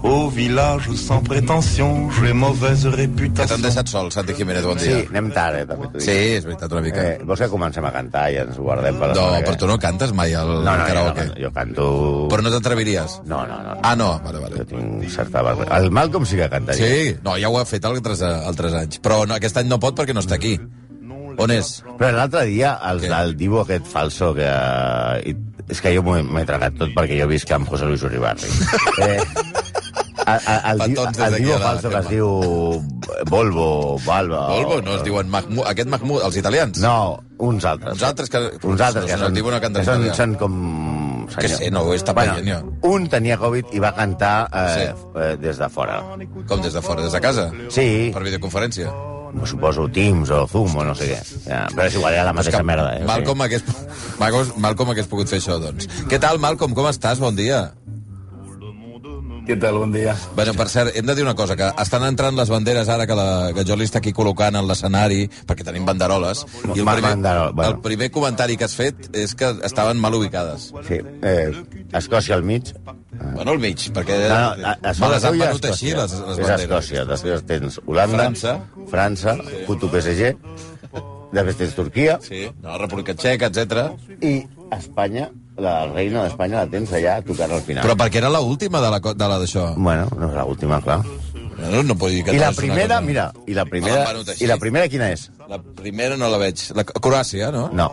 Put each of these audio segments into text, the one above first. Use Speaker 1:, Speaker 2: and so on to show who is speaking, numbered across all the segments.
Speaker 1: Au village sans prétention, j'ai mauvaise
Speaker 2: Que t'han
Speaker 1: réputation.
Speaker 2: deixat sol, Santi Jiménez, bon
Speaker 3: Sí,
Speaker 2: dia.
Speaker 3: anem tard, eh, també t'ho dic.
Speaker 2: Sí, és veritat, una mica.
Speaker 3: Eh, vols que comencem a cantar i ens ho guardem per la
Speaker 2: No,
Speaker 3: setmana que
Speaker 2: però
Speaker 3: ve?
Speaker 2: tu no cantes mai al
Speaker 3: No, no, jo, no
Speaker 2: karaoke.
Speaker 3: canto, jo canto...
Speaker 2: Però no t'atreviries.
Speaker 3: No, no, no.
Speaker 2: Ah, no, vale,
Speaker 3: Jo
Speaker 2: vale.
Speaker 3: tinc certa vergonya. El Malcolm sí que cantaria.
Speaker 2: Sí, no, ja ho ha fet altres, eh, altres anys. Però no, aquest any no pot perquè no està aquí. On és?
Speaker 3: Però l'altre dia, els
Speaker 2: Què?
Speaker 3: del Divo aquest falso, que... i- És que jo m'ho he- m'he tragat tot perquè jo visc amb José Luis Uribarri. Eh, a- a- el, di-
Speaker 2: Petons des
Speaker 3: el
Speaker 2: d'aquí
Speaker 3: Divo
Speaker 2: a la
Speaker 3: falso que es
Speaker 2: Gemma.
Speaker 3: diu Volvo, Valva...
Speaker 2: Volvo, no es diuen Mahmoud, aquest Mahmoud, els italians.
Speaker 3: No, uns altres.
Speaker 2: Uns altres que-
Speaker 3: Uns altres que,
Speaker 2: no, no,
Speaker 3: són,
Speaker 2: diu una
Speaker 3: que
Speaker 2: cantant
Speaker 3: són,
Speaker 2: italiana.
Speaker 3: són com...
Speaker 2: Que
Speaker 3: senyor.
Speaker 2: sé, no, ho està
Speaker 3: bueno,
Speaker 2: pagant,
Speaker 3: un tenia Covid i va cantar eh,
Speaker 2: Sí.
Speaker 3: eh, des de fora.
Speaker 2: Com des de fora, des de casa?
Speaker 3: Sí,
Speaker 2: Per videoconferència.
Speaker 3: suposo Teams o Zoom o no sé què. Ja, però és igual, era la mateixa merda. Eh?
Speaker 2: Malcolm hagués, Malcolm, Malcolm hagués pogut fer això, doncs. Què tal, Malcolm? Com estàs? Bon dia.
Speaker 4: Què tal? Bon dia.
Speaker 2: Bueno, per cert, hem de dir una cosa, que estan entrant les banderes ara que, la, que Joli està aquí col·locant en l'escenari, perquè tenim banderoles, i el
Speaker 3: Ma-
Speaker 2: primer,
Speaker 3: banderol, bueno.
Speaker 2: el primer comentari que has fet és que estaven mal ubicades.
Speaker 3: Sí, eh, Escòcia al mig.
Speaker 2: Bueno, al mig, perquè
Speaker 3: Ah. No, no, a, a
Speaker 2: me
Speaker 3: sobre
Speaker 2: Eh, les han
Speaker 3: teu hi ha
Speaker 2: venut així, les, les
Speaker 3: és
Speaker 2: banderes.
Speaker 3: Escòcia, després tens Holanda,
Speaker 2: França.
Speaker 3: França, puto PSG, després tens Turquia,
Speaker 2: Sí, no, República Txeca, etc.
Speaker 3: i Espanya, la reina d'Espanya la tens allà tocant al final.
Speaker 2: Però perquè era l'última de la co- de la d'això.
Speaker 3: Bueno, no és l'última, clar.
Speaker 2: No, no puc dir que
Speaker 3: I
Speaker 2: no
Speaker 3: la
Speaker 2: és una
Speaker 3: primera,
Speaker 2: cosa-
Speaker 3: mira, i la
Speaker 2: Me
Speaker 3: primera,
Speaker 2: l'han venut així.
Speaker 3: i la primera quina és?
Speaker 2: La primera no la veig. La Croàcia, no?
Speaker 3: No.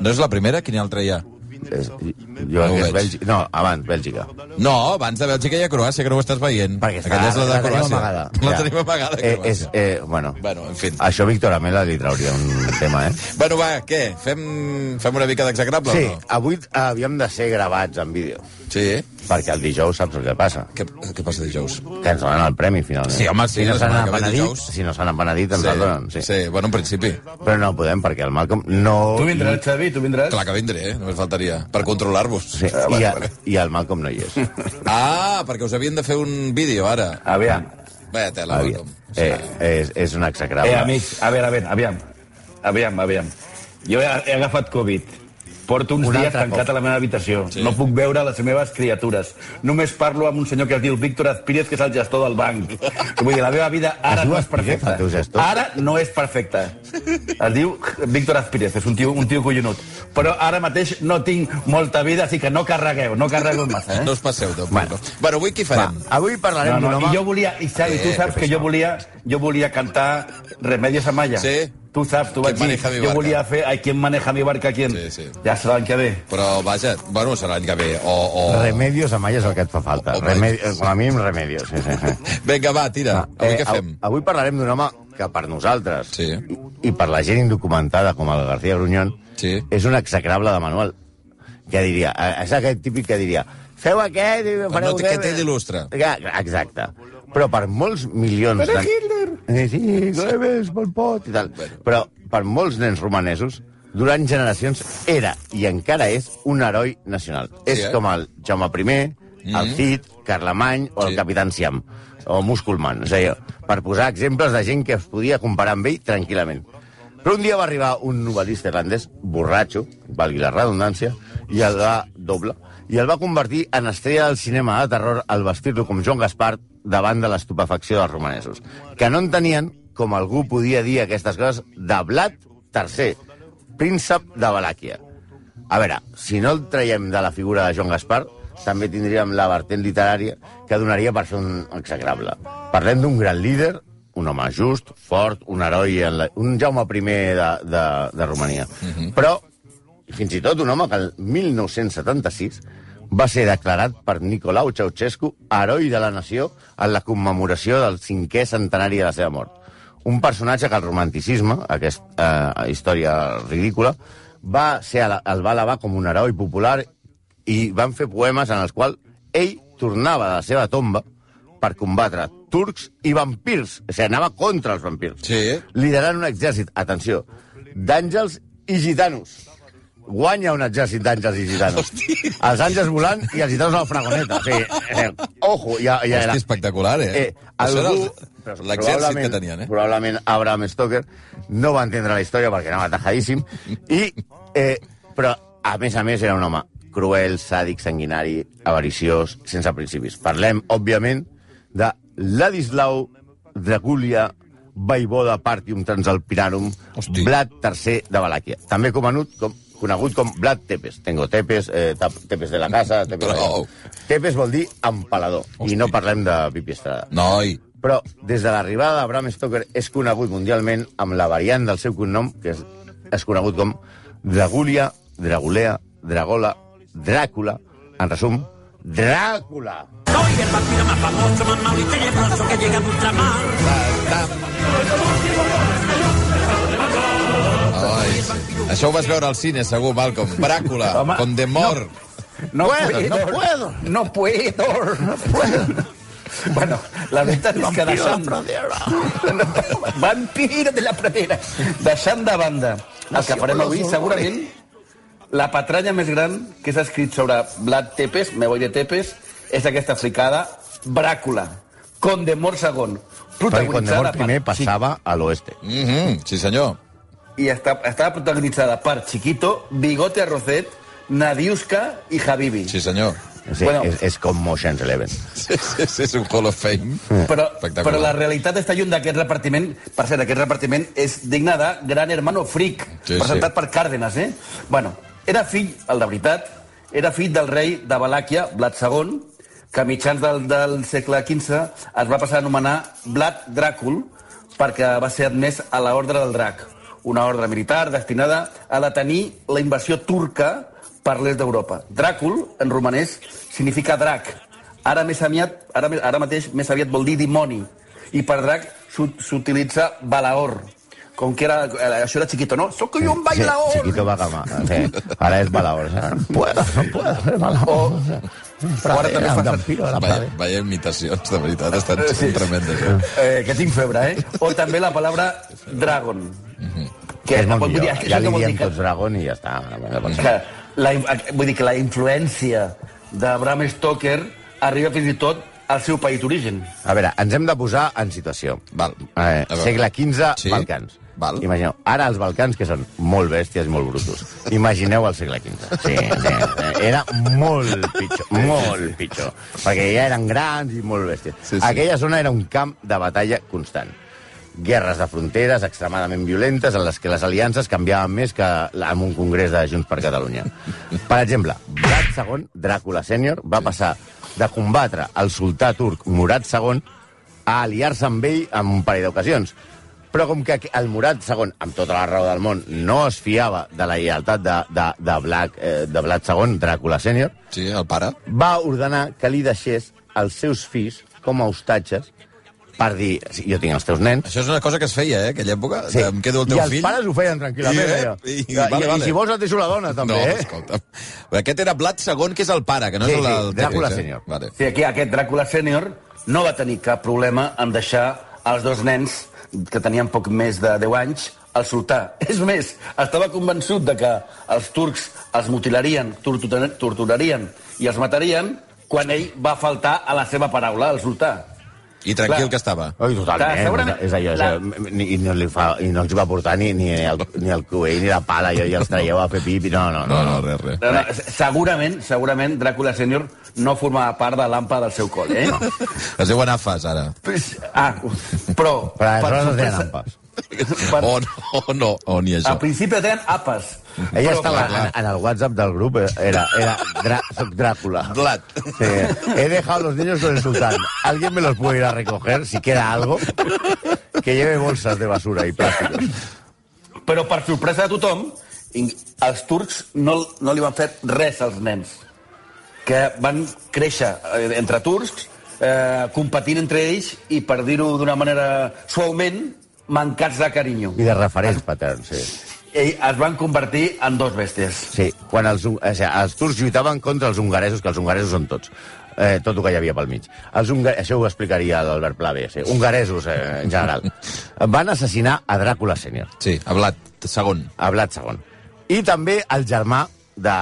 Speaker 2: No és la primera? Quina altra hi ha?
Speaker 3: És, jo
Speaker 2: ho
Speaker 3: crec que
Speaker 2: veig.
Speaker 3: és Bèlgica. No, abans, Bèlgica.
Speaker 2: No, abans de Bèlgica hi ha Croàcia, que no ho estàs veient.
Speaker 3: Perquè està,
Speaker 2: Aquella és la de
Speaker 3: tenim
Speaker 2: Croàcia.
Speaker 3: amagada.
Speaker 2: La
Speaker 3: Ja.
Speaker 2: tenim amagada,
Speaker 3: Eh,
Speaker 2: Croàcia.
Speaker 3: és, eh, bueno,
Speaker 2: Bueno, en fi.
Speaker 3: això Víctor Amela li trauria un tema, eh?
Speaker 2: Bueno, va, què? Fem, fem una mica d'execrable
Speaker 3: Sí,
Speaker 2: o no?
Speaker 3: avui eh, havíem de ser gravats en vídeo,
Speaker 2: Sí.
Speaker 3: perquè el dijous saps el que passa.
Speaker 2: Què, què passa dijous?
Speaker 3: Que ens donen el premi, finalment.
Speaker 2: Sí, home, sí,
Speaker 3: si no
Speaker 2: la
Speaker 3: s'han
Speaker 2: setmana que ve,
Speaker 3: empenedit,
Speaker 2: dijous.
Speaker 3: si no s'han empenedit, ens el donen. Sí.
Speaker 2: sí, bueno, en principi.
Speaker 3: Però no podem, perquè el Malcolm no...
Speaker 4: Tu vindràs, Xavi? Tu vindràs?
Speaker 2: Clar que vindré, eh? només faltaria. Per controlar-vos.
Speaker 3: Sí, i, el, I el Malcolm no hi és.
Speaker 2: Ah, perquè us havien de fer un vídeo, ara.
Speaker 4: Aviam.
Speaker 2: Vaja tela,
Speaker 3: Aviam.
Speaker 2: Malcolm.
Speaker 3: Eh, és, és un execrable.
Speaker 4: Eh, amics, a veure, a veure, aviam. Aviam, aviam. Jo he, he agafat Covid. Porto uns
Speaker 3: Un
Speaker 4: un dies
Speaker 3: altre
Speaker 4: tancat
Speaker 3: cop.
Speaker 4: a la meva habitació. Sí. No puc veure les meves criatures. Només parlo amb un senyor que es diu Víctor Azpírez, que és el gestor del banc. Vull dir, la meva vida
Speaker 3: Es
Speaker 4: ara
Speaker 3: diu
Speaker 4: no és
Speaker 3: Azpírez,
Speaker 4: perfecta.
Speaker 3: el teu gestor?
Speaker 4: Ara no és perfecta. Es diu Víctor Azpírez, és un tio, un tio collonut. Però ara mateix no tinc molta vida, així que no carregueu, no carregueu massa, eh?
Speaker 2: No us passeu, doncs.
Speaker 3: Bueno.
Speaker 2: Bueno, bueno avui què
Speaker 3: Va,
Speaker 2: farem?
Speaker 3: avui parlarem
Speaker 4: Ah. No, no,
Speaker 3: d'un
Speaker 4: i
Speaker 3: home...
Speaker 4: jo volia, i Xavi,
Speaker 2: eh,
Speaker 4: tu saps que jo volia, jo volia cantar Remedios Amaya.
Speaker 2: Sí.
Speaker 4: Tu saps, tu vaig
Speaker 2: ¿Quién
Speaker 4: dir,
Speaker 2: maneja mi
Speaker 4: jo
Speaker 2: barca?
Speaker 4: volia fer a quien maneja mi barca, quien.
Speaker 2: Sí, sí.
Speaker 4: Ja serà l'any que ve.
Speaker 2: Però, vaja, bueno, serà l'any que ve. O, o...
Speaker 3: Remedios a Malla és el que et fa falta.
Speaker 2: Oh, oh,
Speaker 3: Remedi... Com a mínim, remedios. Sí, sí, sí. Ah, eh,
Speaker 2: Vinga, va, tira. Ah, Avui què
Speaker 3: av-
Speaker 2: fem?
Speaker 3: Avui parlarem d'un home que per nosaltres
Speaker 2: Sí.
Speaker 3: i, i per la gent indocumentada com el García Grunyón
Speaker 2: Sí.
Speaker 3: és un execrable de manual que diria, eh, és aquest típic que diria feu aquest i fareu
Speaker 2: no té- que té d'il·lustre.
Speaker 3: Ja, Exacte. Però per molts milions... Però de... Hitler! Sí, Goebbels, Pol Pot i tal. Però per molts nens romanesos durant generacions era i encara és un heroi nacional. és
Speaker 2: eh?
Speaker 3: com el Jaume I, el Cid, Carlemany o
Speaker 2: Sí.
Speaker 3: el Capitán Siam o Musculman, és a dir, per posar exemples de gent que es podia comparar amb ell tranquil·lament. Però un dia va arribar un novel·lista irlandès, borratxo, valgui la redundància, i el va doble, i el va convertir en estrella del cinema de terror al vestir-lo com Joan Gaspar davant de l'estupefacció dels romanesos, que no entenien com algú podia dir aquestes coses de Blat III, príncep de Valàquia. A veure, si no el traiem de la figura de Joan Gaspar, també tindríem la vertent literària que donaria per ser un execrable. Parlem d'un gran líder, un home just, fort, un heroi, en la... un Jaume I de, de, de Romania. Però, fins i tot, un home que el 1976 va ser declarat per Nicolau Ceausescu heroi de la nació en la commemoració del cinquè centenari de la seva mort un personatge que el romanticisme, aquesta eh, història ridícula, va ser, ala- el va elevar com un heroi popular i van fer poemes en els quals ell tornava de la seva tomba per combatre turcs i vampirs. O sigui, anava contra els vampirs.
Speaker 2: Sí.
Speaker 3: Liderant un exèrcit, atenció, d'àngels i gitanos. Guanya un exèrcit d'àngels i gitanos. Hosti. Els àngels volant i els gitanos a la fragoneta. O sigui, eh, ojo, ja, ja
Speaker 2: Hosti,
Speaker 3: era...
Speaker 2: espectacular, eh?
Speaker 3: Eh,
Speaker 2: Això era
Speaker 3: algú...
Speaker 2: el- l'exèrcit que tenien, eh?
Speaker 3: Probablement Abraham Stoker no va entendre la història perquè anava tajadíssim. I, eh, però, a més a més, era un home cruel, sàdic, sanguinari, avariciós, sense principis. Parlem, òbviament, de Ladislau Dragulia Vaivoda Partium Transalpinarum,
Speaker 2: Hosti.
Speaker 3: Vlad III de Valàquia. També conegut com, conegut com Vlad Tepes. Tengo Tepes, eh, tap- Tepes de la casa... Tepes,
Speaker 2: Prou.
Speaker 3: Tepes vol dir empalador.
Speaker 2: Hosti.
Speaker 3: I no parlem de Pipi Estrada.
Speaker 2: Noi,
Speaker 3: Però des de l'arribada de Bram Stoker és conegut mundialment amb la variant del seu cognom, que és, és conegut com Dragulia, Dragulea, Dragola, Dràcula, en resum, Dràcula.
Speaker 2: Ai, això ho vas veure al cine, segur, Malcolm. Bràcula,
Speaker 4: Home,
Speaker 2: con de mor.
Speaker 4: No
Speaker 3: Puedo,
Speaker 4: puedo,
Speaker 3: no puedo.
Speaker 4: No puedo, no puedo. Bueno, la veritat és que deixant... Vampiro de la pradera. Deixant de banda el que farem avui, segurament la patranya més gran que s'ha escrit sobre Vlad Tepes, me voy de Tepes, és aquesta fricada Bràcula, Condemor II,
Speaker 3: Perquè quan de
Speaker 4: protagonitzada
Speaker 3: mort primer
Speaker 4: per... Sí,
Speaker 3: passava a l'oeste.
Speaker 2: Mm -hmm, sí, senyor.
Speaker 4: i està, estava protagonitzada per Chiquito, Bigote Arrocet, Nadiuska i Habibi.
Speaker 2: Sí, senyor.
Speaker 3: Sí,
Speaker 4: Bueno.
Speaker 3: és, és com Motions Eleven.
Speaker 2: Sí, sí, sí, és un Hall of Fame.
Speaker 3: Eh,
Speaker 4: Però,
Speaker 2: Eh, Espectacular.
Speaker 4: però la realitat està lluny d'aquest repartiment. Per cert, aquest repartiment és digne de Gran Hermano Frick,
Speaker 2: Sí,
Speaker 4: sí, presentat
Speaker 2: sí.
Speaker 4: per Cárdenas, eh? Bueno, era fill, el de veritat, era fill del rei de Valàquia, Vlad II, que a mitjans del, del segle XV es va passar a anomenar Vlad Dràcul, perquè va ser admès a la Ordre del Drac, una ordre militar destinada a detenir la invasió turca per l'est d'Europa. Dràcul, en romanès, significa drac, Ara, més aviat, ara, me- ara mateix més aviat vol dir dimoni. I per drac s'u- s'utilitza balaor. Com que era, eh, això era chiquito, no? Soc jo un bailaor!
Speaker 3: Sí, Chiquito Bacama. Sí. Ara és eh? Balaor. No puedo, no puedo. és Balaor.
Speaker 4: O Oh. ara també fa servir-
Speaker 3: Vampiro de la
Speaker 2: Vaya,
Speaker 3: pradera.
Speaker 2: vaya imitacions, de veritat, estan sí. tremendes. Eh?
Speaker 4: Eh, que tinc febre, eh? O també la paraula dragon.
Speaker 3: Mhm. Que és molt
Speaker 4: vull
Speaker 3: millor.
Speaker 4: dir, això
Speaker 3: Ja
Speaker 4: que
Speaker 3: li
Speaker 4: vol dir
Speaker 3: diem
Speaker 4: que-
Speaker 3: tots Dragon i ja està. Bueno, doncs,
Speaker 4: que la, eh, vull dir que la influència de Bram Stoker arriba fins i tot al seu país d'origen.
Speaker 3: A veure, ens hem de posar en situació.
Speaker 2: Val. A
Speaker 3: Eh,
Speaker 2: veure.
Speaker 3: segle XV,
Speaker 2: Sí.
Speaker 3: sí? Balcans.
Speaker 2: Val.
Speaker 3: Imagineu, ara els Balcans, que són molt bèsties i molt brutos. Imagineu el segle XV. Sí, sí, sí. Era molt pitjor, molt pitjor. Perquè ja eren grans i molt bèsties.
Speaker 2: Sí,
Speaker 3: Sí,
Speaker 2: sí.
Speaker 3: sí. Aquella zona era un camp de batalla constant. Guerres de fronteres extremadament violentes en les que les aliances canviaven més que la- en un congrés de Junts per Catalunya. Per exemple, Vlad II, Dràcula sènior, va passar de combatre el sultà turc Murat II a aliar-se amb ell en un parell d'ocasions. Però com que el Murat II, amb tota la raó del món, no es fiava de la lleialtat de, de, de, Black, eh, de Vlad II, Dràcula sènior,
Speaker 2: Sí, el pare.
Speaker 3: va ordenar que li deixés els seus fills com a hostatges per dir, "Sí, jo tinc els teus nens,
Speaker 2: Això és una cosa que es feia, eh, aquella època.
Speaker 3: Sí.
Speaker 2: Em quedo el teu
Speaker 3: I els
Speaker 2: fill.
Speaker 3: pares ho feien tranquil·lament.
Speaker 2: I- eh,
Speaker 3: Yeah.
Speaker 2: i-
Speaker 3: I,
Speaker 2: i- vale,
Speaker 3: i,
Speaker 2: vale.
Speaker 3: I si vols et deixo la dona, també.
Speaker 2: No,
Speaker 3: eh?
Speaker 2: escolta. Aquest era Blat II, que és el pare, que no
Speaker 3: Sí,
Speaker 2: és el...
Speaker 3: sí,
Speaker 2: del
Speaker 3: Dràcula
Speaker 2: Tètrix, eh?
Speaker 3: sènior.
Speaker 2: Vale.
Speaker 4: Sí, aquí aquest Dràcula sènior no va tenir cap problema en deixar els dos nens que tenien poc més de 10 anys al sultà. És més, estava convençut de que els turcs els mutilarien, tortura- torturarien i els matarien quan ell va faltar a la seva paraula, al sultà.
Speaker 2: I tranquil
Speaker 4: Clar.
Speaker 2: que estava.
Speaker 3: Ai, totalment.
Speaker 4: Clar, segurament-
Speaker 3: És allò, és allò, ni, i, no li fa, I no els va portar ni, ni, el, ni el cuell ni la pala, i i els traieu a Pepí. No, no,
Speaker 2: No,
Speaker 3: no.
Speaker 2: no, res, res.
Speaker 4: No, no, segurament, segurament, Dràcula sènior no formava part de l'ampa del seu col, eh?
Speaker 2: Es diuen afes, ara.
Speaker 4: Ah, però...
Speaker 3: Però aleshores no Oh,
Speaker 4: sorpresa-
Speaker 3: tenen ampes.
Speaker 4: Per-
Speaker 2: O Oh, no, o no, o ni
Speaker 4: Al
Speaker 2: això.
Speaker 4: principi tenen apes.
Speaker 3: Ella
Speaker 4: però,
Speaker 3: estava
Speaker 2: clar.
Speaker 3: en, en el WhatsApp del grup, eh, era, era Drà, soc Dràcula.
Speaker 2: Blat.
Speaker 3: Sí. He dejado los niños con el sultán. ¿Alguien me los puede ir a recoger, si queda algo? Que lleve bolsas de basura y plásticos.
Speaker 4: Però per sorpresa de tothom, in- els turcs no, no li van fer res als nens, que van créixer eh, entre turcs, eh, competint entre ells i, per dir-ho d'una manera suaument, mancats de carinyo.
Speaker 3: I de referents paterns, sí.
Speaker 4: I es van convertir en dos bèsties.
Speaker 3: Sí, quan els, hun- o sigui, els turcs lluitaven contra els hongaresos, que els hongaresos són tots. eh, tot el que hi havia pel mig. Els húngars, això ho explicaria l'Albert Pla bé, sí, hongaresos eh, en general. Van assassinar a Dràcula sènior,
Speaker 2: Sí, a Blat, segon.
Speaker 3: a Vlad II. I també el germà de,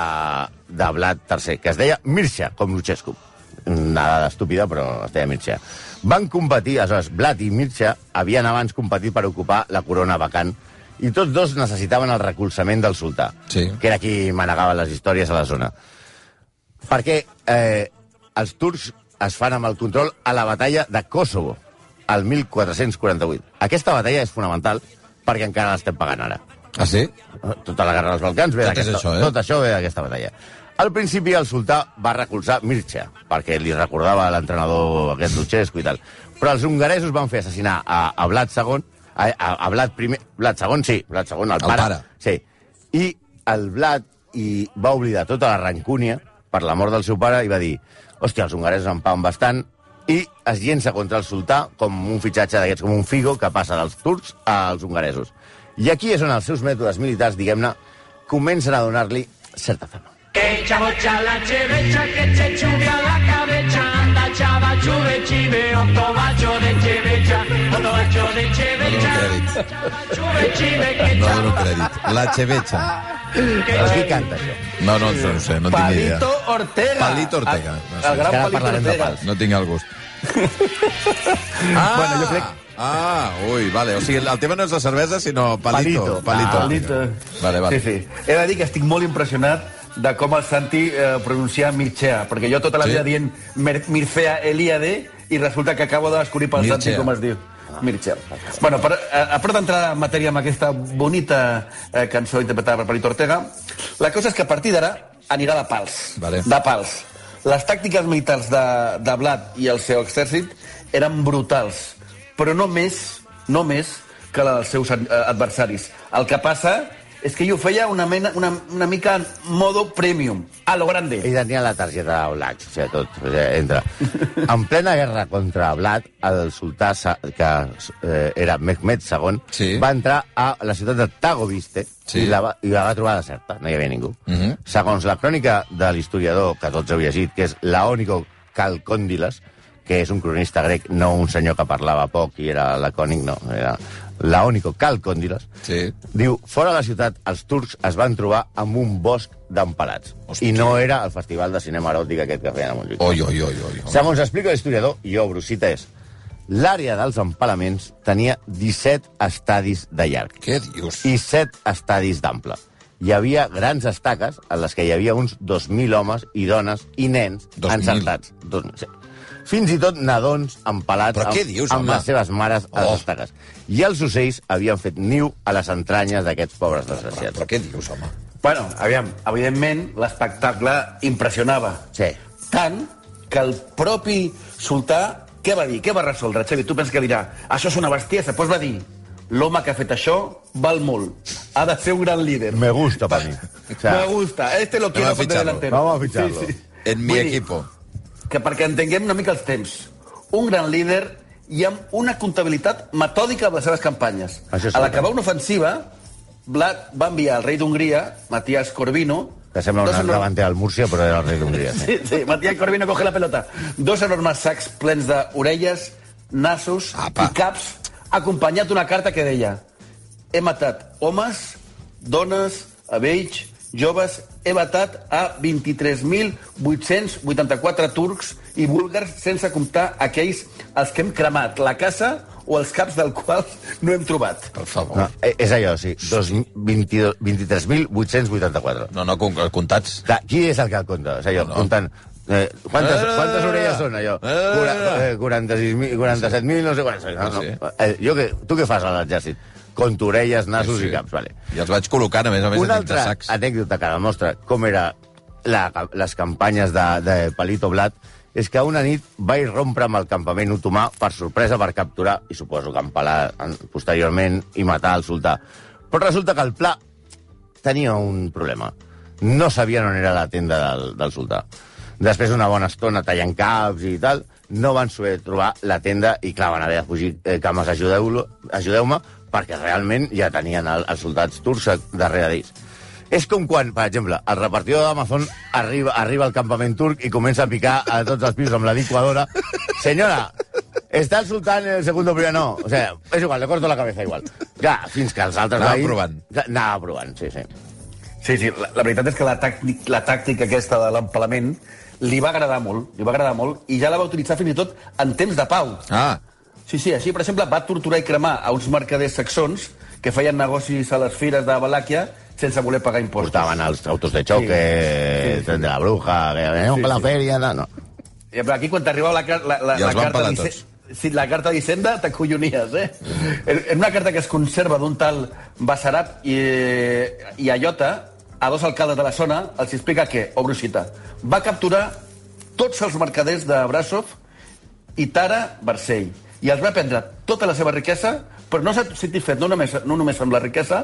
Speaker 3: de Vlad III, que es deia Mircea, com Luchescu. Una dada estúpida, però es deia Mircea. Van competir, aleshores, Vlad i Mircea havien abans competit per ocupar la corona vacant i tots dos necessitaven el recolzament del sultà,
Speaker 2: Sí.
Speaker 3: que era qui manegava les històries a la zona. Perquè eh, els turcs es fan amb el control a la batalla de Kosovo, al 1448. Aquesta batalla és fonamental perquè encara l'estem pagant ara.
Speaker 2: Ah, sí?
Speaker 3: Tota la guerra dels Balcans ve
Speaker 2: Tot és
Speaker 3: d'aquesta...
Speaker 2: això, eh?
Speaker 3: Tot això ve d'aquesta batalla. Al principi el sultà va recolzar Mircea, perquè li recordava l'entrenador aquest Luchescu i tal. Però els hongaresos van fer assassinar a, a Vlad II, a, a, a Vlad primer... Vlad II, sí, Vlad II, el, el pare.
Speaker 2: pare.
Speaker 3: Sí. I el Vlad i va oblidar tota la rancúnia per la mort del seu pare i va dir hòstia, els hongaresos en paguen bastant i es llença contra el sultà com un fitxatge d'aquests, com un figo que passa dels turcs als hongaresos. I aquí és on els seus mètodes militars, diguem-ne, comencen a donar-li certa fama.
Speaker 2: No dono crèdit. No dono crèdit. La Chevecha.
Speaker 3: Però qui canta això?
Speaker 2: No, no, no ho sé, no tinc ni idea.
Speaker 4: Palito Ortega.
Speaker 2: Palito Ortega.
Speaker 4: El-
Speaker 2: No sé.
Speaker 4: El gran
Speaker 3: Encara
Speaker 4: Palito
Speaker 3: parlarem de
Speaker 4: Ortega.
Speaker 3: pals.
Speaker 2: No tinc el gust. Ah! Bueno, jo crec... Ah, ui, vale. O sigui, el tema no és la cervesa, sinó palito.
Speaker 3: Palito.
Speaker 2: Palito.
Speaker 4: Palito.
Speaker 2: Vale, vale.
Speaker 4: Sí, sí. He de dir que estic molt impressionat de com el Santi eh, pronuncia Mircea, perquè jo tota la
Speaker 2: Sí?
Speaker 4: vida dient Mer Mircea Eliade i resulta que acabo de descobrir pel
Speaker 2: Mircea.
Speaker 4: Santi com es diu. Mircel. Bueno, per, eh, a, a prop d'entrar en matèria amb aquesta bonita eh, cançó interpretada per Palito Ortega, la cosa és que a partir d'ara anirà de pals.
Speaker 2: Vale.
Speaker 4: De pals. Les tàctiques militars de, de Vlad i el seu exèrcit eren brutals, però no més, no més que la dels seus ad- eh, adversaris. El que passa és que ell ho feia una, mena, una, una mica en modo premium, a lo grande.
Speaker 3: Ell tenia la targeta Black, o sigui, tot, o sigui, entra. En plena guerra contra Vlad, el sultà, sa- que eh, era Mehmed II,
Speaker 2: Sí.
Speaker 3: va entrar a la ciutat de Tagoviste
Speaker 2: Sí.
Speaker 3: i, la va, i la va trobar deserta, no hi havia ningú.
Speaker 2: Mhm.
Speaker 3: Segons la crònica de l'historiador, que tots heu llegit, que és Laónico Calcóndiles, que és un cronista grec, no un senyor que parlava poc i era lacònic, no, era Laónico Calcóndiles,
Speaker 2: Sí.
Speaker 3: Diu, fora de la ciutat, els turcs es van trobar amb un bosc d'empalats.
Speaker 2: Hòstia.
Speaker 3: I no era el festival de cinema eròtic aquest que feien a Montjuïc.
Speaker 2: Oi, oi, oi, oi. oi.
Speaker 3: Segons explica l'historiador, i obro cita és, l'àrea dels empalaments tenia 17 estadis de llarg
Speaker 2: Què dius?
Speaker 3: i 7 estadis d'ample. Hi havia grans estaques en les que hi havia uns 2.000 homes i dones i nens
Speaker 2: 2.000?
Speaker 3: encertats. Dos, sí. Fins i tot nadons empalats
Speaker 2: Però
Speaker 3: amb,
Speaker 2: què dius,
Speaker 3: amb
Speaker 2: home?
Speaker 3: les seves mares a
Speaker 2: Oh.
Speaker 3: les estaques. I els ocells havien fet niu a les entranyes d'aquests pobres desgraciats.
Speaker 2: Però què dius, home?
Speaker 4: Bueno, aviam, evidentment l'espectacle impressionava.
Speaker 3: Sí.
Speaker 4: Tant que el propi sultà, què va dir? Què va resoldre? Xavi, tu penses que dirà, això és una bestiesa, doncs va dir, l'home que ha fet això val molt, ha de ser un gran líder.
Speaker 3: Me gusta, per mi. O sea,
Speaker 4: Me gusta, este lo quiero
Speaker 2: a
Speaker 4: poner
Speaker 2: ficharlo.
Speaker 4: delantero.
Speaker 3: Vamos a ficharlo.
Speaker 2: En mi
Speaker 4: Vull dir,
Speaker 2: equipo.
Speaker 4: que perquè entenguem una mica els temps, un gran líder i amb una comptabilitat metòdica de les seves campanyes.
Speaker 3: Això és eh?
Speaker 4: A
Speaker 3: veritat.
Speaker 4: l'acabar una ofensiva, Vlad va enviar al rei d'Hongria, Matías Corvino...
Speaker 3: que sembla
Speaker 4: dos
Speaker 3: un
Speaker 4: enormes-
Speaker 3: davanter al Múrcia, però era el rei d'Hongria. Sí.
Speaker 4: Sí, sí, Matías Corvino coge la pelota. Dos enormes sacs plens d'orelles, nassos
Speaker 2: Apa.
Speaker 4: i caps, acompanyat d'una carta que deia he matat homes, dones, avells, joves, he matat a 23.884 turcs i búlgars sense comptar aquells els que hem cremat la casa o els caps del qual no hem trobat.
Speaker 2: Per favor.
Speaker 3: No, eh, és allò, sí. Dos- 22 23.884.
Speaker 2: No, no, com- comptats.
Speaker 3: Clar, qui és el que el compta? És allò,
Speaker 2: No,
Speaker 3: no,
Speaker 2: no.
Speaker 3: comptant... Eh, quantes,
Speaker 2: No, no, no,
Speaker 3: quantes
Speaker 2: no, no.
Speaker 3: orelles són, allò?
Speaker 2: No, no, no,
Speaker 3: Cura-
Speaker 2: no.
Speaker 3: eh, 46.000, 47.000, no sé quants. No,
Speaker 2: Sí, sí.
Speaker 3: no. Eh, jo què, tu què fas a l'exèrcit? Conto orelles, nassos
Speaker 2: Sí.
Speaker 3: i caps, vale.
Speaker 2: I els vaig col·locant, a més a més,
Speaker 3: Una
Speaker 2: a dins de
Speaker 3: altra
Speaker 2: sacs.
Speaker 3: anècdota que demostra com era la, les campanyes de, de Palito Blat és que una nit va irrompre amb el campament otomà per sorpresa per capturar, i suposo que empalar en- posteriorment i matar el sultà. Però resulta que el pla tenia un problema. No sabien on era la tenda del, del sultà. Després d'una bona estona tallant caps i tal, no van saber trobar la tenda i, clar, van haver de fugir eh, cames, ajudeu-lo- ajudeu-me, ajudeu perquè realment ja tenien el, els soldats turcs darrere d'ells. És com quan, per exemple, el repartidor d'Amazon arriba, arriba al campament turc i comença a picar a tots els pisos amb la licuadora. Senyora, està el sultán en el segundo primer, no. O sea, és igual, le corto la cabeza igual. Ja, fins que els altres...
Speaker 2: Anava
Speaker 3: veïns-
Speaker 2: provant.
Speaker 3: Ja, Anava provant, sí, sí.
Speaker 4: Sí, sí, la, la veritat és que la, tàctic, la tàctica aquesta de l'empalament li va agradar molt, li va agradar molt, i ja la va utilitzar fins i tot en temps de pau.
Speaker 2: Ah,
Speaker 4: Sí, sí, així, per exemple, va torturar i cremar a uns mercaders saxons que feien negocis a les fires de Valàquia sense voler pagar impostos.
Speaker 3: Portaven els autos de xoc, sí.
Speaker 4: Sí,
Speaker 3: eh,
Speaker 4: sí.
Speaker 3: tren de la bruja, que veníem sí,
Speaker 4: Sí,
Speaker 3: sí. la
Speaker 4: sí.
Speaker 3: feria... No, no.
Speaker 4: I però aquí, quan t'arribava la, car- la, la,
Speaker 2: I els
Speaker 4: la
Speaker 2: van
Speaker 4: carta
Speaker 2: pelar
Speaker 4: d'Hisen-
Speaker 2: tots.
Speaker 4: Sí, la carta d'Hisenda, t'acollonies, eh? En una carta que es conserva d'un tal Bassarat i, i Ayota, a dos alcaldes de la zona, els explica que, obro cita, va capturar tots els mercaders de Brasov i Tara Barsell i els va prendre tota la seva riquesa, però no s'ha satisfet no només, no només amb la riquesa,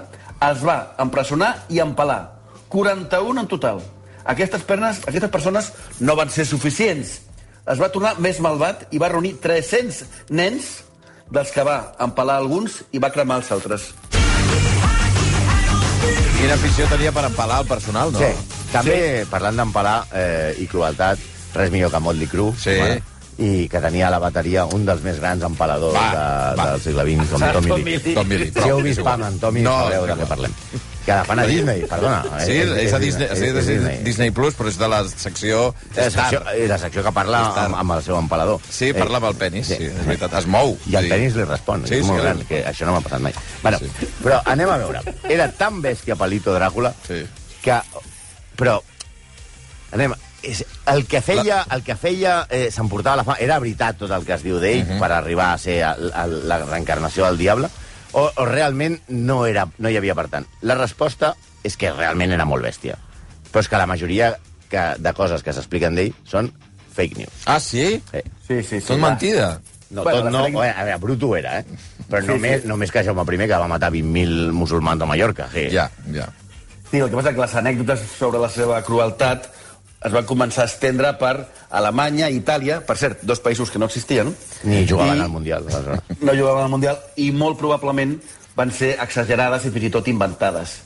Speaker 4: els va empresonar i empalar. 41 en total. Aquestes, pernes, aquestes persones no van ser suficients. Es va tornar més malvat i va reunir 300 nens dels que va empalar alguns i va cremar els altres.
Speaker 2: quina afició tenia per empalar el personal, no?
Speaker 3: Sí. També, parlant d'empalar eh, i crueltat, res millor que Motley Crue.
Speaker 2: Sí.
Speaker 3: bueno, I que tenia a la bateria un dels més grans empaladors
Speaker 2: Va,
Speaker 3: de,
Speaker 2: va.
Speaker 3: del segle XX, com Tommy Lee.
Speaker 2: Tom Billy.
Speaker 3: Si heu vist Pam and Tommy,
Speaker 2: No,
Speaker 3: no, sabreu
Speaker 2: no,
Speaker 3: de què
Speaker 2: no.
Speaker 3: parlem. Que la fan a Disney, perdona. eh?
Speaker 2: Sí, és, és, a Disney, és, és, Disney, Disney Plus, però és de la secció...
Speaker 3: És la, secció, és la secció que parla
Speaker 2: Star.
Speaker 3: amb, amb el seu empalador.
Speaker 2: Sí, parla amb el penis, sí, és veritat. Es mou.
Speaker 3: I el
Speaker 2: Sí.
Speaker 3: penis li respon,
Speaker 2: Sí,
Speaker 3: sí, és
Speaker 2: sí,
Speaker 3: molt
Speaker 2: el-
Speaker 3: gran, que això no m'ha passat mai. Bueno,
Speaker 2: Sí.
Speaker 3: sí. Però anem a veure. Era tan bèstia Palito Dràcula
Speaker 2: Sí.
Speaker 3: que... Però... Anem... És, el que feia, el que feia eh, s'emportava la fama. Era veritat tot el que es diu d'ell
Speaker 2: Mhm.
Speaker 3: uh -huh. per arribar a ser el, el, la reencarnació del diable? O, o realment no, era, no hi havia per tant? La resposta és que realment era molt bèstia. Però és que la majoria que, de coses que s'expliquen d'ell són fake news.
Speaker 2: Ah, sí?
Speaker 3: Eh,
Speaker 4: Sí, sí, sí.
Speaker 2: Tot
Speaker 4: va.
Speaker 2: mentida.
Speaker 3: no,
Speaker 4: Bueno,
Speaker 3: tot
Speaker 4: la
Speaker 3: no,
Speaker 4: Frank-
Speaker 3: a veure, bruto era, eh? Però
Speaker 4: Sí,
Speaker 3: només,
Speaker 4: sí.
Speaker 3: només que Jaume I, que va matar 20.000 musulmans a Mallorca. Sí.
Speaker 2: Ja, ja.
Speaker 4: Sí, el que passa és que les anècdotes sobre la seva crueltat es van començar a estendre per Alemanya, Itàlia, per cert, dos països que no existien.
Speaker 3: Ni jugaven
Speaker 4: I-
Speaker 3: al Mundial. aleshores.
Speaker 4: no jugaven al Mundial i molt probablement van ser exagerades i fins i tot inventades.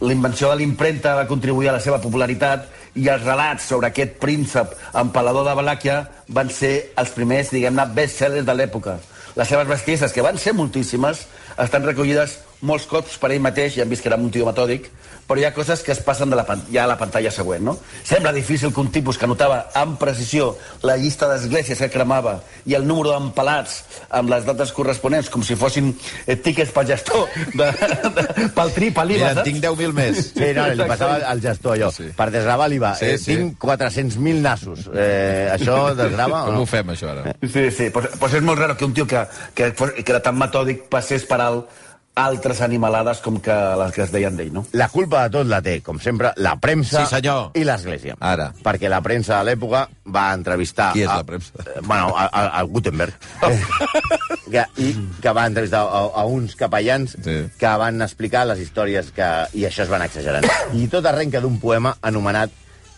Speaker 4: La invenció de l'impremta va contribuir a la seva popularitat i els relats sobre aquest príncep empalador de Valàquia van ser els primers, diguem-ne, bestsellers de l'època. Les seves bestieses, que van ser moltíssimes, estan recollides molts cops per ell mateix, ja hem vist que era un tio metòdic, però hi ha coses que es passen de la pan ja a la pantalla següent, no? Sembla difícil que un tipus que anotava amb precisió la llista d'esglésies que cremava i el número d'empalats amb les dates corresponents, com si fossin eh, tiques pel gestor, de, de, pel tri, per l'IVA,
Speaker 2: Mira, en tinc 10.000 més.
Speaker 3: Sí, no, li passava al gestor allò.
Speaker 2: Sí,
Speaker 3: Sí,
Speaker 2: sí.
Speaker 3: sí. Per desgravar l'IVA.
Speaker 2: Sí,
Speaker 3: Sí, eh,
Speaker 2: sí.
Speaker 3: tinc 400.000 nassos. Eh, això desgrava o
Speaker 2: Com ho
Speaker 3: no?
Speaker 2: fem, això, ara?
Speaker 4: Sí, sí, pues, pues és molt raro que un tio que, que, fos- que era tan metòdic passés per alt altres animalades com que les que es deien d'ell, no?
Speaker 3: La culpa de tot la té, com sempre, la premsa
Speaker 2: Sí, senyor.
Speaker 3: i l'Església.
Speaker 2: Ara.
Speaker 3: Perquè la premsa de l'època va entrevistar...
Speaker 2: Qui és
Speaker 3: a-
Speaker 2: la premsa?
Speaker 3: Eh, Bueno, a, a, a Gutenberg. Eh, que, I que va entrevistar a, a uns capellans sí.
Speaker 2: Sí.
Speaker 3: que van explicar les històries que... I això es van exagerant. I tot arrenca d'un poema anomenat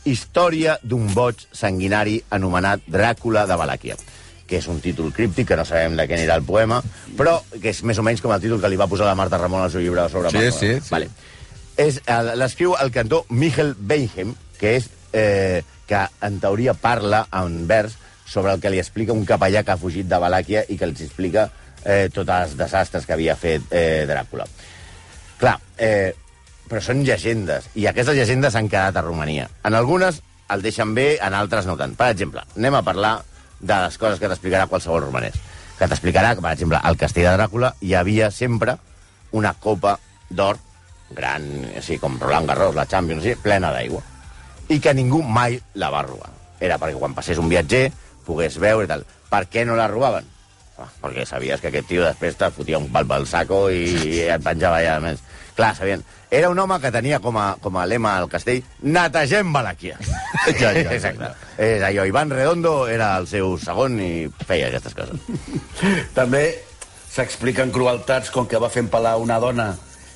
Speaker 3: Història d'un boig sanguinari anomenat Dràcula de Valàquia que és un títol críptic, que no sabem de què anirà el poema, però que és més o menys com el títol que li va posar la Marta Ramon al seu llibre sobre
Speaker 2: Sí,
Speaker 3: Barcelona.
Speaker 2: sí, sí.
Speaker 3: Vale és eh, l'escriu el cantor Michel Beigem, que és eh, que en teoria parla en vers sobre el que li explica un capellà que ha fugit de Valàquia i que els explica eh, tots els desastres que havia fet eh, Dràcula. Clar, eh, però són llegendes, i aquestes llegendes han quedat a Romania. En algunes el deixen bé, en altres no tant. Per exemple, anem a parlar de les coses que t'explicarà qualsevol romanès. Que t'explicarà que, per exemple, al castell de Dràcula hi havia sempre una copa d'or gran, així com Roland Garros, la Champions, així, plena d'aigua. I que ningú mai la va robar. Era perquè quan passés un viatger pogués veure i tal. Per què no la robaven? Ah, perquè sabies que aquest tio després te fotia un palp al saco i et penjava allà més. Clar, sabien. Era un home que tenia com a, com a lema al castell netegem Valàquia. ja, ja, Exacte. És allò, Ivan Redondo era el seu segon i feia aquestes coses.
Speaker 4: També s'expliquen crueltats com que va fer empalar una dona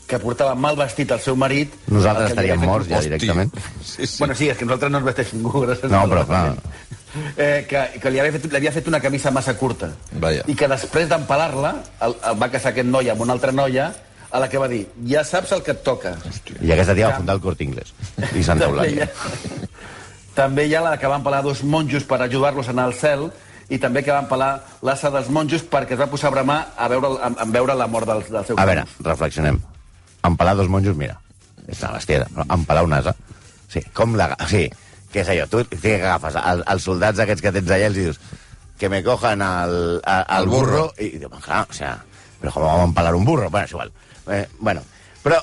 Speaker 4: que portava mal vestit al seu marit.
Speaker 3: Nosaltres
Speaker 4: El que li
Speaker 3: estaríem
Speaker 4: ha fet-
Speaker 3: morts ja
Speaker 2: Hosti.
Speaker 3: directament.
Speaker 2: Sí, sí.
Speaker 4: Bueno, sí, és que nosaltres no ens vesteix ningú. gràcies
Speaker 3: No,
Speaker 4: a Déu.
Speaker 3: però clar.
Speaker 4: Eh, que, que li havia, fet, li havia fet una camisa massa curta.
Speaker 2: Vaja.
Speaker 4: I que després d'empalar-la, el, el va casar aquest noi amb una altra noia, a la que va dir ja saps el que et toca.
Speaker 3: I aquesta tia va fundar el Cort Inglés. I Santa
Speaker 4: També hi,
Speaker 3: Eulàlia.
Speaker 4: ha, també hi ha la que van pelar dos monjos per ajudar-los a anar al cel i també que van pelar l'assa dels monjos perquè es va posar a bramar a veure, a, a veure la mort del, del seu
Speaker 3: A veure, reflexionem. Empalar dos monjos, mira, és una bestiesa. Però empalar un asa, sí, com la... Sí, què és allò? Tu tu què agafes? El, els soldats aquests que tens allà els dius que me cojan al, a, al
Speaker 2: Al
Speaker 3: burro.
Speaker 2: burro.
Speaker 3: I diu, clar, o sea, però com vam empalar un burro? Bueno, és igual. Eh, bueno, però,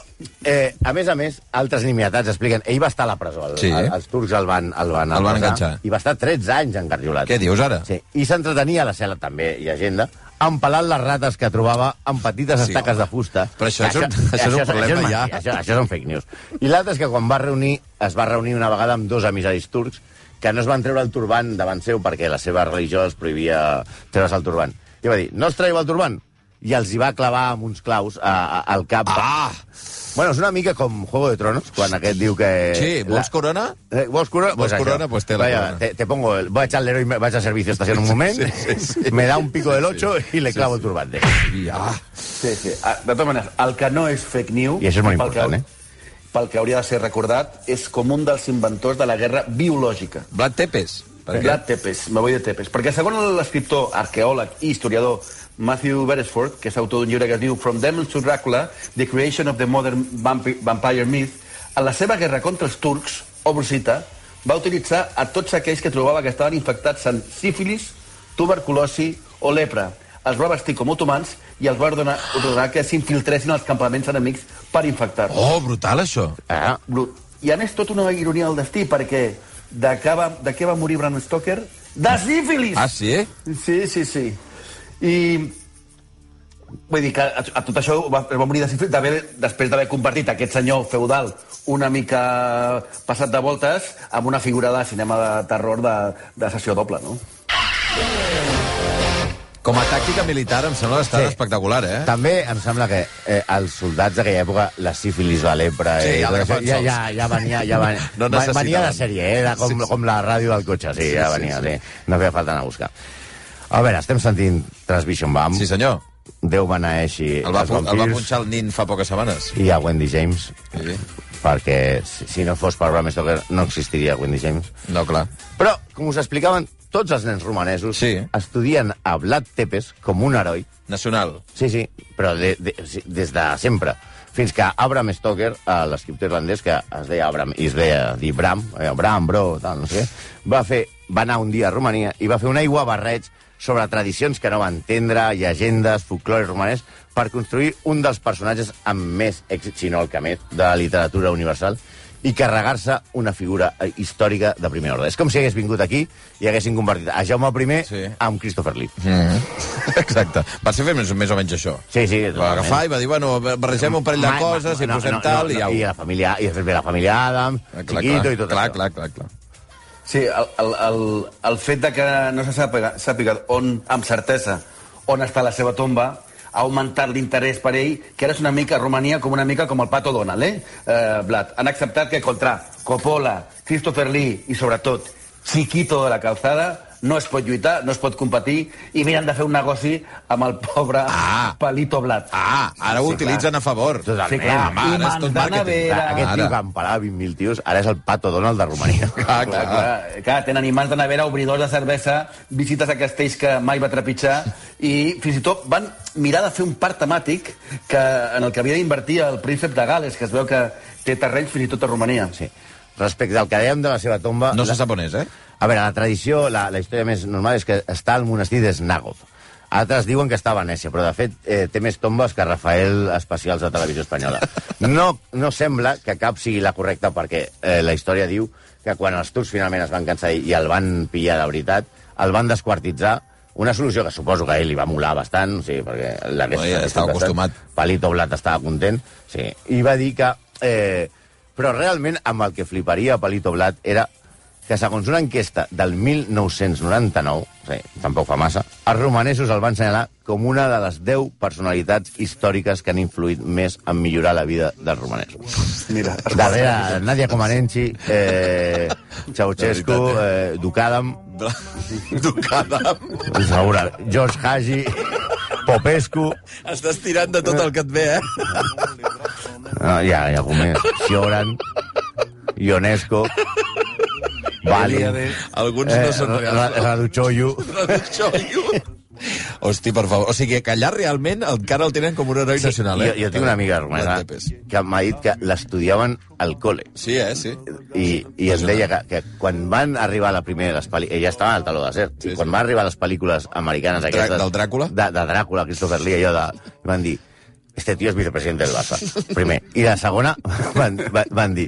Speaker 3: eh, a més a més, altres nimietats expliquen... Ell va estar a la presó, el,
Speaker 2: Sí.
Speaker 3: sí. el, els turcs el van, el van,
Speaker 2: El van
Speaker 3: arrestar,
Speaker 2: enganxar.
Speaker 3: I va estar 13 anys encarjolat.
Speaker 2: Què dius, ara?
Speaker 3: Sí, i s'entretenia a la cel·la també, i agenda, empalant les rates que trobava amb petites
Speaker 2: Sí,
Speaker 3: estaques
Speaker 2: home.
Speaker 3: de fusta.
Speaker 2: Però això és un- això és un problema
Speaker 3: això és
Speaker 2: ja.
Speaker 3: mentida, Això, això són fake news. I l'altre és que quan va reunir, es va reunir una vegada amb dos emissaris turcs que no es van treure el turban davant seu perquè la seva religió els prohibia treure's el turban. I va dir, no us traieu el turban? I els hi va clavar amb uns claus a, a, al cap.
Speaker 2: Ah!
Speaker 3: Bueno, és una mica com Juego de Tronos, quan aquest diu que...
Speaker 2: Sí, vols corona?
Speaker 3: Eh, ¿Vos corona?
Speaker 2: Vos
Speaker 3: això.
Speaker 2: corona, pues te la corona.
Speaker 3: Te, te pongo el... Voy a echar Leroy, vas a servicio estación un momento,
Speaker 2: sí, sí, sí.
Speaker 3: me da un pico del 8 y le clavo el turbante.
Speaker 2: Ja.
Speaker 4: Sí, sí. Ah, De totes maneres, el que no és fake news...
Speaker 3: I això és molt
Speaker 4: pel que-
Speaker 3: important, eh?
Speaker 4: Pel que hauria de ser recordat, és com un dels inventors de la guerra biològica.
Speaker 2: Blat Tepes. Per què?
Speaker 4: Vlad Tepes, me voy de Tepes. Perquè segons l'escriptor, arqueòleg i historiador Matthew Beresford, que és autor d'un llibre que es diu From Demons to Dracula, The Creation of the Modern Vampi Vampire Myth, en la seva guerra contra els turcs, obro cita, va utilitzar a tots aquells que trobava que estaven infectats amb sífilis, tuberculosi o lepra. Els va vestir com otomans i els va ordenar, ordenar que s'infiltressin als campaments enemics per infectar-los.
Speaker 2: Oh, brutal, això.
Speaker 3: Ah,
Speaker 4: Brut. I a més, tot una ironia del destí, perquè de què va, de què va morir Bram Stoker? De sífilis!
Speaker 2: Ah, sí?
Speaker 4: Sí, sí, sí. I... Vull dir que a, a tot això va, va morir de sífilis d'haver- després d'haver compartit aquest senyor feudal una mica passat de voltes amb una figura de cinema de terror de, de sessió doble, no?
Speaker 2: Com a tàctica militar em sembla bastant
Speaker 3: Sí.
Speaker 2: espectacular, eh?
Speaker 3: També em sembla que eh, els soldats d'aquella època, la sífilis, la lepra...
Speaker 2: Sí,
Speaker 3: eh,
Speaker 2: ja
Speaker 3: tot
Speaker 2: l'agafaven
Speaker 3: això, ja,
Speaker 2: sols.
Speaker 3: ja, ja venia, ja venia,
Speaker 2: No
Speaker 3: va- venia de
Speaker 2: necessitaven.
Speaker 3: sèrie, eh? Era com,
Speaker 2: Sí,
Speaker 3: sí,
Speaker 2: sí.
Speaker 3: com la ràdio del cotxe, sí, sí ja
Speaker 2: sí,
Speaker 3: venia,
Speaker 2: sí.
Speaker 3: sí, sí. no feia falta anar a buscar. A veure, estem sentint Transvision Bam,
Speaker 2: Sí,
Speaker 3: sí,
Speaker 2: senyor.
Speaker 3: Déu beneeixi
Speaker 2: El va,
Speaker 3: els
Speaker 2: pu- el va
Speaker 3: vampirs
Speaker 2: punxar el nin fa poques setmanes.
Speaker 3: i a Wendy James,
Speaker 2: Sí.
Speaker 3: perquè si, si no fos per Bram Stoker no existiria Wendy James.
Speaker 2: No, clar.
Speaker 3: Però, com us explicaven, tots els nens romanesos
Speaker 2: Sí.
Speaker 3: estudien a Vlad Tepes com un heroi.
Speaker 2: Nacional.
Speaker 3: Sí, sí, però de, de, sí, des de sempre. Fins que Abraham Stoker, eh, l'escriptor irlandès, que es deia Abraham, i es deia dir Bram, eh, Bram, bro, tal, no sé, va, fer, va anar un dia a Romania i va fer un aigua barreig sobre tradicions que no va entendre, llegendes, folclore romanès, per construir un dels personatges amb més èxit, si no el que més, de la literatura universal, i carregar-se una figura eh, històrica de primer ordre. És com si hagués vingut aquí i haguessin convertit a Jaume I sí.
Speaker 2: Sí.
Speaker 3: amb Christopher Lee.
Speaker 2: Exacte. Va ser fer més, més o menys això.
Speaker 3: Mhm. Sí, sí,
Speaker 2: Va
Speaker 3: totalment.
Speaker 2: agafar i va dir, bueno, barregem un parell de
Speaker 3: Ma- ma-
Speaker 2: coses i
Speaker 3: no,
Speaker 2: posem
Speaker 3: no,
Speaker 2: tal
Speaker 3: no,
Speaker 2: i
Speaker 3: no,
Speaker 2: au.
Speaker 3: I la família, i després ve la família Adam,
Speaker 2: Ah, clar,
Speaker 3: Chiquito
Speaker 2: clar,
Speaker 3: i tot
Speaker 2: clar,
Speaker 3: això.
Speaker 2: clar, clar, clar.
Speaker 4: Sí, el, el, el, el fet de que no se sàpiga, sàpiga on, amb certesa on està la seva tomba ha augmentat l'interès per ell, que ara és una mica a Romania com una mica com el Pato Donald, eh? eh Blat. Han acceptat que contra Coppola, Christopher Lee i, sobretot, Chiquito de la Calzada no es pot lluitar, no es pot competir i miren de fer un negoci amb el pobre
Speaker 2: Ah.
Speaker 4: Palito Blat.
Speaker 2: Ah, ara ho
Speaker 3: Sí, clar.
Speaker 2: utilitzen a favor.
Speaker 3: Totalment.
Speaker 4: Sí, clar.
Speaker 2: Home, ara és tot
Speaker 4: I mandant a
Speaker 2: màrqueting.
Speaker 4: veure-
Speaker 3: Clar, Aquest tio
Speaker 2: Ara.
Speaker 3: que empalar 20.000 tios, ara és el Pato Donald de Romania.
Speaker 2: Clar,
Speaker 4: clar,
Speaker 2: clar.
Speaker 4: clar, clar, tenen imants de nevera, obridors de cervesa, visites a castells que mai va trepitjar, i fins i tot van mirar de fer un parc temàtic que, en el que havia d'invertir el príncep de Gales, que es veu que té terrenys fins i tot a Romania.
Speaker 3: Sí. Respecte al que dèiem de la seva tomba...
Speaker 2: No se
Speaker 3: la-
Speaker 2: sap on és, eh?
Speaker 3: A veure, la tradició, la, la història més normal és que està al monestir de Snagov. Altres diuen que està a Venècia, però de fet eh, té més tombes que Rafael Especials de Televisió Espanyola. No, no sembla que cap sigui la correcta perquè eh, la història diu que quan els turcs finalment es van cansar i el van pillar de veritat, el van desquartitzar, una solució que suposo que a ell li va molar bastant, o sigui, perquè l'hagués...
Speaker 2: Oi, estava
Speaker 3: bastant.
Speaker 2: acostumat.
Speaker 3: Palito Blat estava content, sí. I va dir que... Eh, però realment amb el que fliparia Palito Blat era que segons una enquesta del 1999, sí, tampoc fa massa, els romanesos el van assenyalar com una de les 10 personalitats històriques que han influït més en millorar la vida dels romanesos.
Speaker 4: Mira,
Speaker 3: Darrere Nadia Comaneci, eh, Ceausescu, eh, Ducadam,
Speaker 2: Tocada.
Speaker 3: segura, George Hagi, Popescu...
Speaker 2: Estàs tirant de tot el que et ve, eh?
Speaker 3: Ah, hi ha, hi ha algú més. Sioran, Ionesco, Bali,
Speaker 2: Alguns
Speaker 3: eh,
Speaker 2: no són
Speaker 3: Ra-
Speaker 2: reals.
Speaker 3: Raduchollo...
Speaker 2: Hosti, per favor. O sigui, que allà realment encara el tenen com un heroi nacional, eh?
Speaker 3: Jo, jo tinc una amiga romana
Speaker 2: Blat de pes.
Speaker 3: que m'ha dit que l'estudiaven al col·le.
Speaker 2: Sí, eh? Sí.
Speaker 3: I, i em deia que, que quan van arribar a la primera de les pel·lícules... Ella estava al taló desert.
Speaker 2: Sí,
Speaker 3: Sí,
Speaker 2: sí.
Speaker 3: I quan van arribar les pel·lícules americanes
Speaker 2: Drac-
Speaker 3: aquestes...
Speaker 2: del Dràcula?
Speaker 3: De, de Dràcula, Christopher Lee, allò de... i Van dir, este tío es vicepresident del Barça, primer. I la segona van, van, van dir,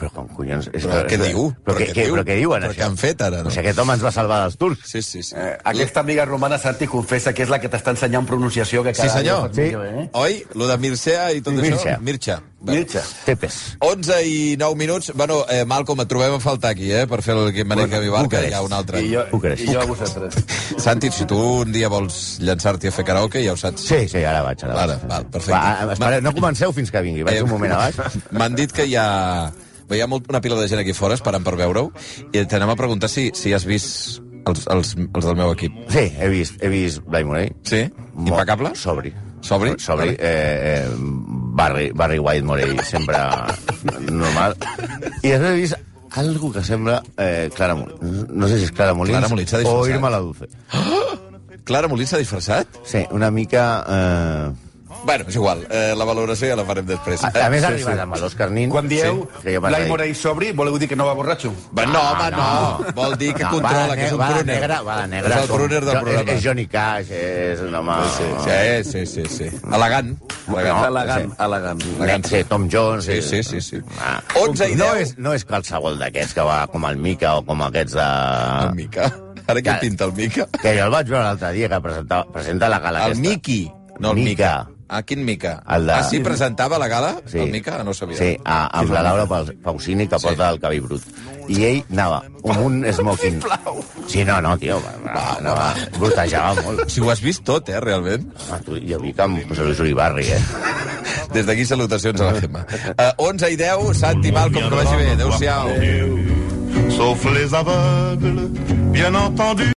Speaker 3: però com collons... És,
Speaker 2: Però què
Speaker 3: és-
Speaker 2: diu?
Speaker 3: Però, què, què,
Speaker 2: diu?
Speaker 3: però què diuen,
Speaker 2: Però
Speaker 3: això?
Speaker 2: què han fet, ara, no?
Speaker 3: O sigui, aquest home ens va salvar dels turcs.
Speaker 2: Sí, sí, sí.
Speaker 4: Eh, aquesta amiga romana, Santi, confessa que és la que t'està ensenyant pronunciació que
Speaker 2: Sí,
Speaker 4: cada
Speaker 2: senyor.
Speaker 4: dia ho fas millor, eh?
Speaker 2: Oi? Lo de Mircea i tot
Speaker 3: Sí,
Speaker 2: això?
Speaker 3: Mircea.
Speaker 2: Mircea. Bé.
Speaker 4: Mirxa.
Speaker 3: Tepes.
Speaker 2: 11 i 9 minuts. Bueno, eh, Malcom, et trobem a faltar aquí, eh, per fer el Guim Manel bueno, Vivar, que
Speaker 3: Bucarest.
Speaker 2: hi ha un altre.
Speaker 4: I jo,
Speaker 3: Bucarest.
Speaker 4: i jo a vosaltres.
Speaker 2: Santi, si tu un dia vols llançar-t'hi a fer karaoke, ja ho saps.
Speaker 3: Sí, sí, ara vaig. Ara,
Speaker 2: Ara,
Speaker 3: vaig.
Speaker 2: val, perfecte.
Speaker 3: Va, espera, no comenceu fins que vingui.
Speaker 2: Eh,
Speaker 3: Vaig un moment a baix.
Speaker 2: M'han dit que hi ha... Bé, hi ha molt, una pila de gent aquí fora esperant per veure-ho i t'anem a preguntar si, si has vist els, els, els del meu equip.
Speaker 3: Sí, he vist, he vist Blai Morell.
Speaker 2: Sí?
Speaker 3: Molt
Speaker 2: Impecable?
Speaker 3: Sobri.
Speaker 2: Sobri?
Speaker 3: Sobri.
Speaker 2: Vale.
Speaker 3: Eh, eh, Barry, Barry White Morell, sempre normal. I després he vist algo que sembla eh, Clara Molins. No sé si és Clara Molins,
Speaker 2: Clara Molins s'ha
Speaker 3: o
Speaker 2: disfressat.
Speaker 3: Irma la Dulce.
Speaker 2: Clara Molins s'ha disfressat?
Speaker 3: Sí, una mica... Eh...
Speaker 2: Bueno, és igual, eh, la valoració ja la farem després.
Speaker 3: A, a més, ha
Speaker 2: Sí,
Speaker 3: arribat amb l'Òscar Nin.
Speaker 4: Quan dieu
Speaker 3: sí, que
Speaker 4: sí,
Speaker 3: jo vaig
Speaker 4: Blai
Speaker 3: dir,
Speaker 4: Morell sobri, voleu dir que no va borratxo?
Speaker 2: Va, no, home, no.
Speaker 3: Ah, no.
Speaker 2: Vol dir que
Speaker 3: No,
Speaker 2: controla,
Speaker 3: va de
Speaker 2: que és un
Speaker 3: ne- va de
Speaker 2: pruner.
Speaker 3: negre, va de negre.
Speaker 2: És el
Speaker 3: com-
Speaker 2: pruner del
Speaker 3: jo-
Speaker 2: programa.
Speaker 3: És, és Johnny Cash, és un home...
Speaker 2: Sí, sí, sí, sí, sí. Elegant.
Speaker 3: No,
Speaker 2: Elegant.
Speaker 4: elegant, elegant.
Speaker 3: Net, sí, Tom Jones...
Speaker 2: Sí,
Speaker 3: eh,
Speaker 2: sí, sí, sí.
Speaker 3: Ah.
Speaker 2: 11 i 10.
Speaker 3: No és, no és qualsevol d'aquests que va com el Mica o com aquests de...
Speaker 2: El Mica. Ara què
Speaker 3: Ah. Ja.
Speaker 2: pinta el Mica?
Speaker 3: Que jo el vaig veure l'altre dia, que presenta, presenta la gala
Speaker 2: El
Speaker 3: aquesta.
Speaker 2: Miqui. No, el Mica.
Speaker 3: Mica.
Speaker 2: Ah, quin Mica?
Speaker 3: El de-
Speaker 2: Ah, sí, presentava la gala?
Speaker 3: Sí.
Speaker 2: El Mica? No ho sabia.
Speaker 3: Sí, a, amb la Laura Pau- Pausini, que porta el cabell brut. I ell anava amb un smoking... Sí, no, no, tio, va, va, no, va, brutejava molt.
Speaker 2: Si ho has vist tot, eh, realment.
Speaker 3: Home, tu, jo vi que amb José Luis Uribarri, eh?
Speaker 2: Des d'aquí, salutacions a la Gemma. Uh, 11 i 10, Santi Malcom, que vagi bé. Adéu-siau.
Speaker 1: Sauf les aveugles, bien entendu.